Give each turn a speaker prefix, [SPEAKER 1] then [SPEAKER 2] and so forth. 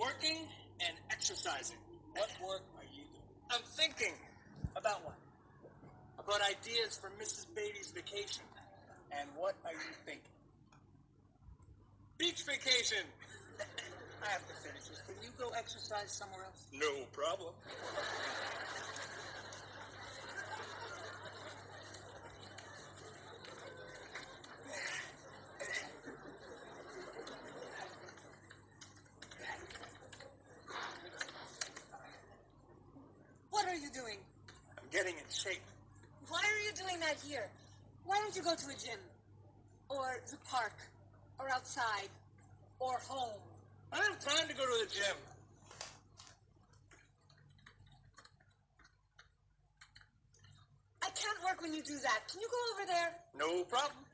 [SPEAKER 1] working and exercising.
[SPEAKER 2] What work are you doing?
[SPEAKER 1] I'm thinking
[SPEAKER 2] About what?
[SPEAKER 1] about ideas for Mrs. Beatty's vacation.
[SPEAKER 2] And what are you thinking?
[SPEAKER 1] Beach vacation!
[SPEAKER 2] I have to finish this. Can you go exercise somewhere else?
[SPEAKER 1] No problem.
[SPEAKER 3] What are you doing?
[SPEAKER 1] I'm getting in shape.
[SPEAKER 3] Why are you doing that here? Why don't you go to a gym? Or the park? Or outside? Or home?
[SPEAKER 1] I don't have time to go to the gym.
[SPEAKER 3] I can't work when you do that. Can you go over there?
[SPEAKER 1] No problem.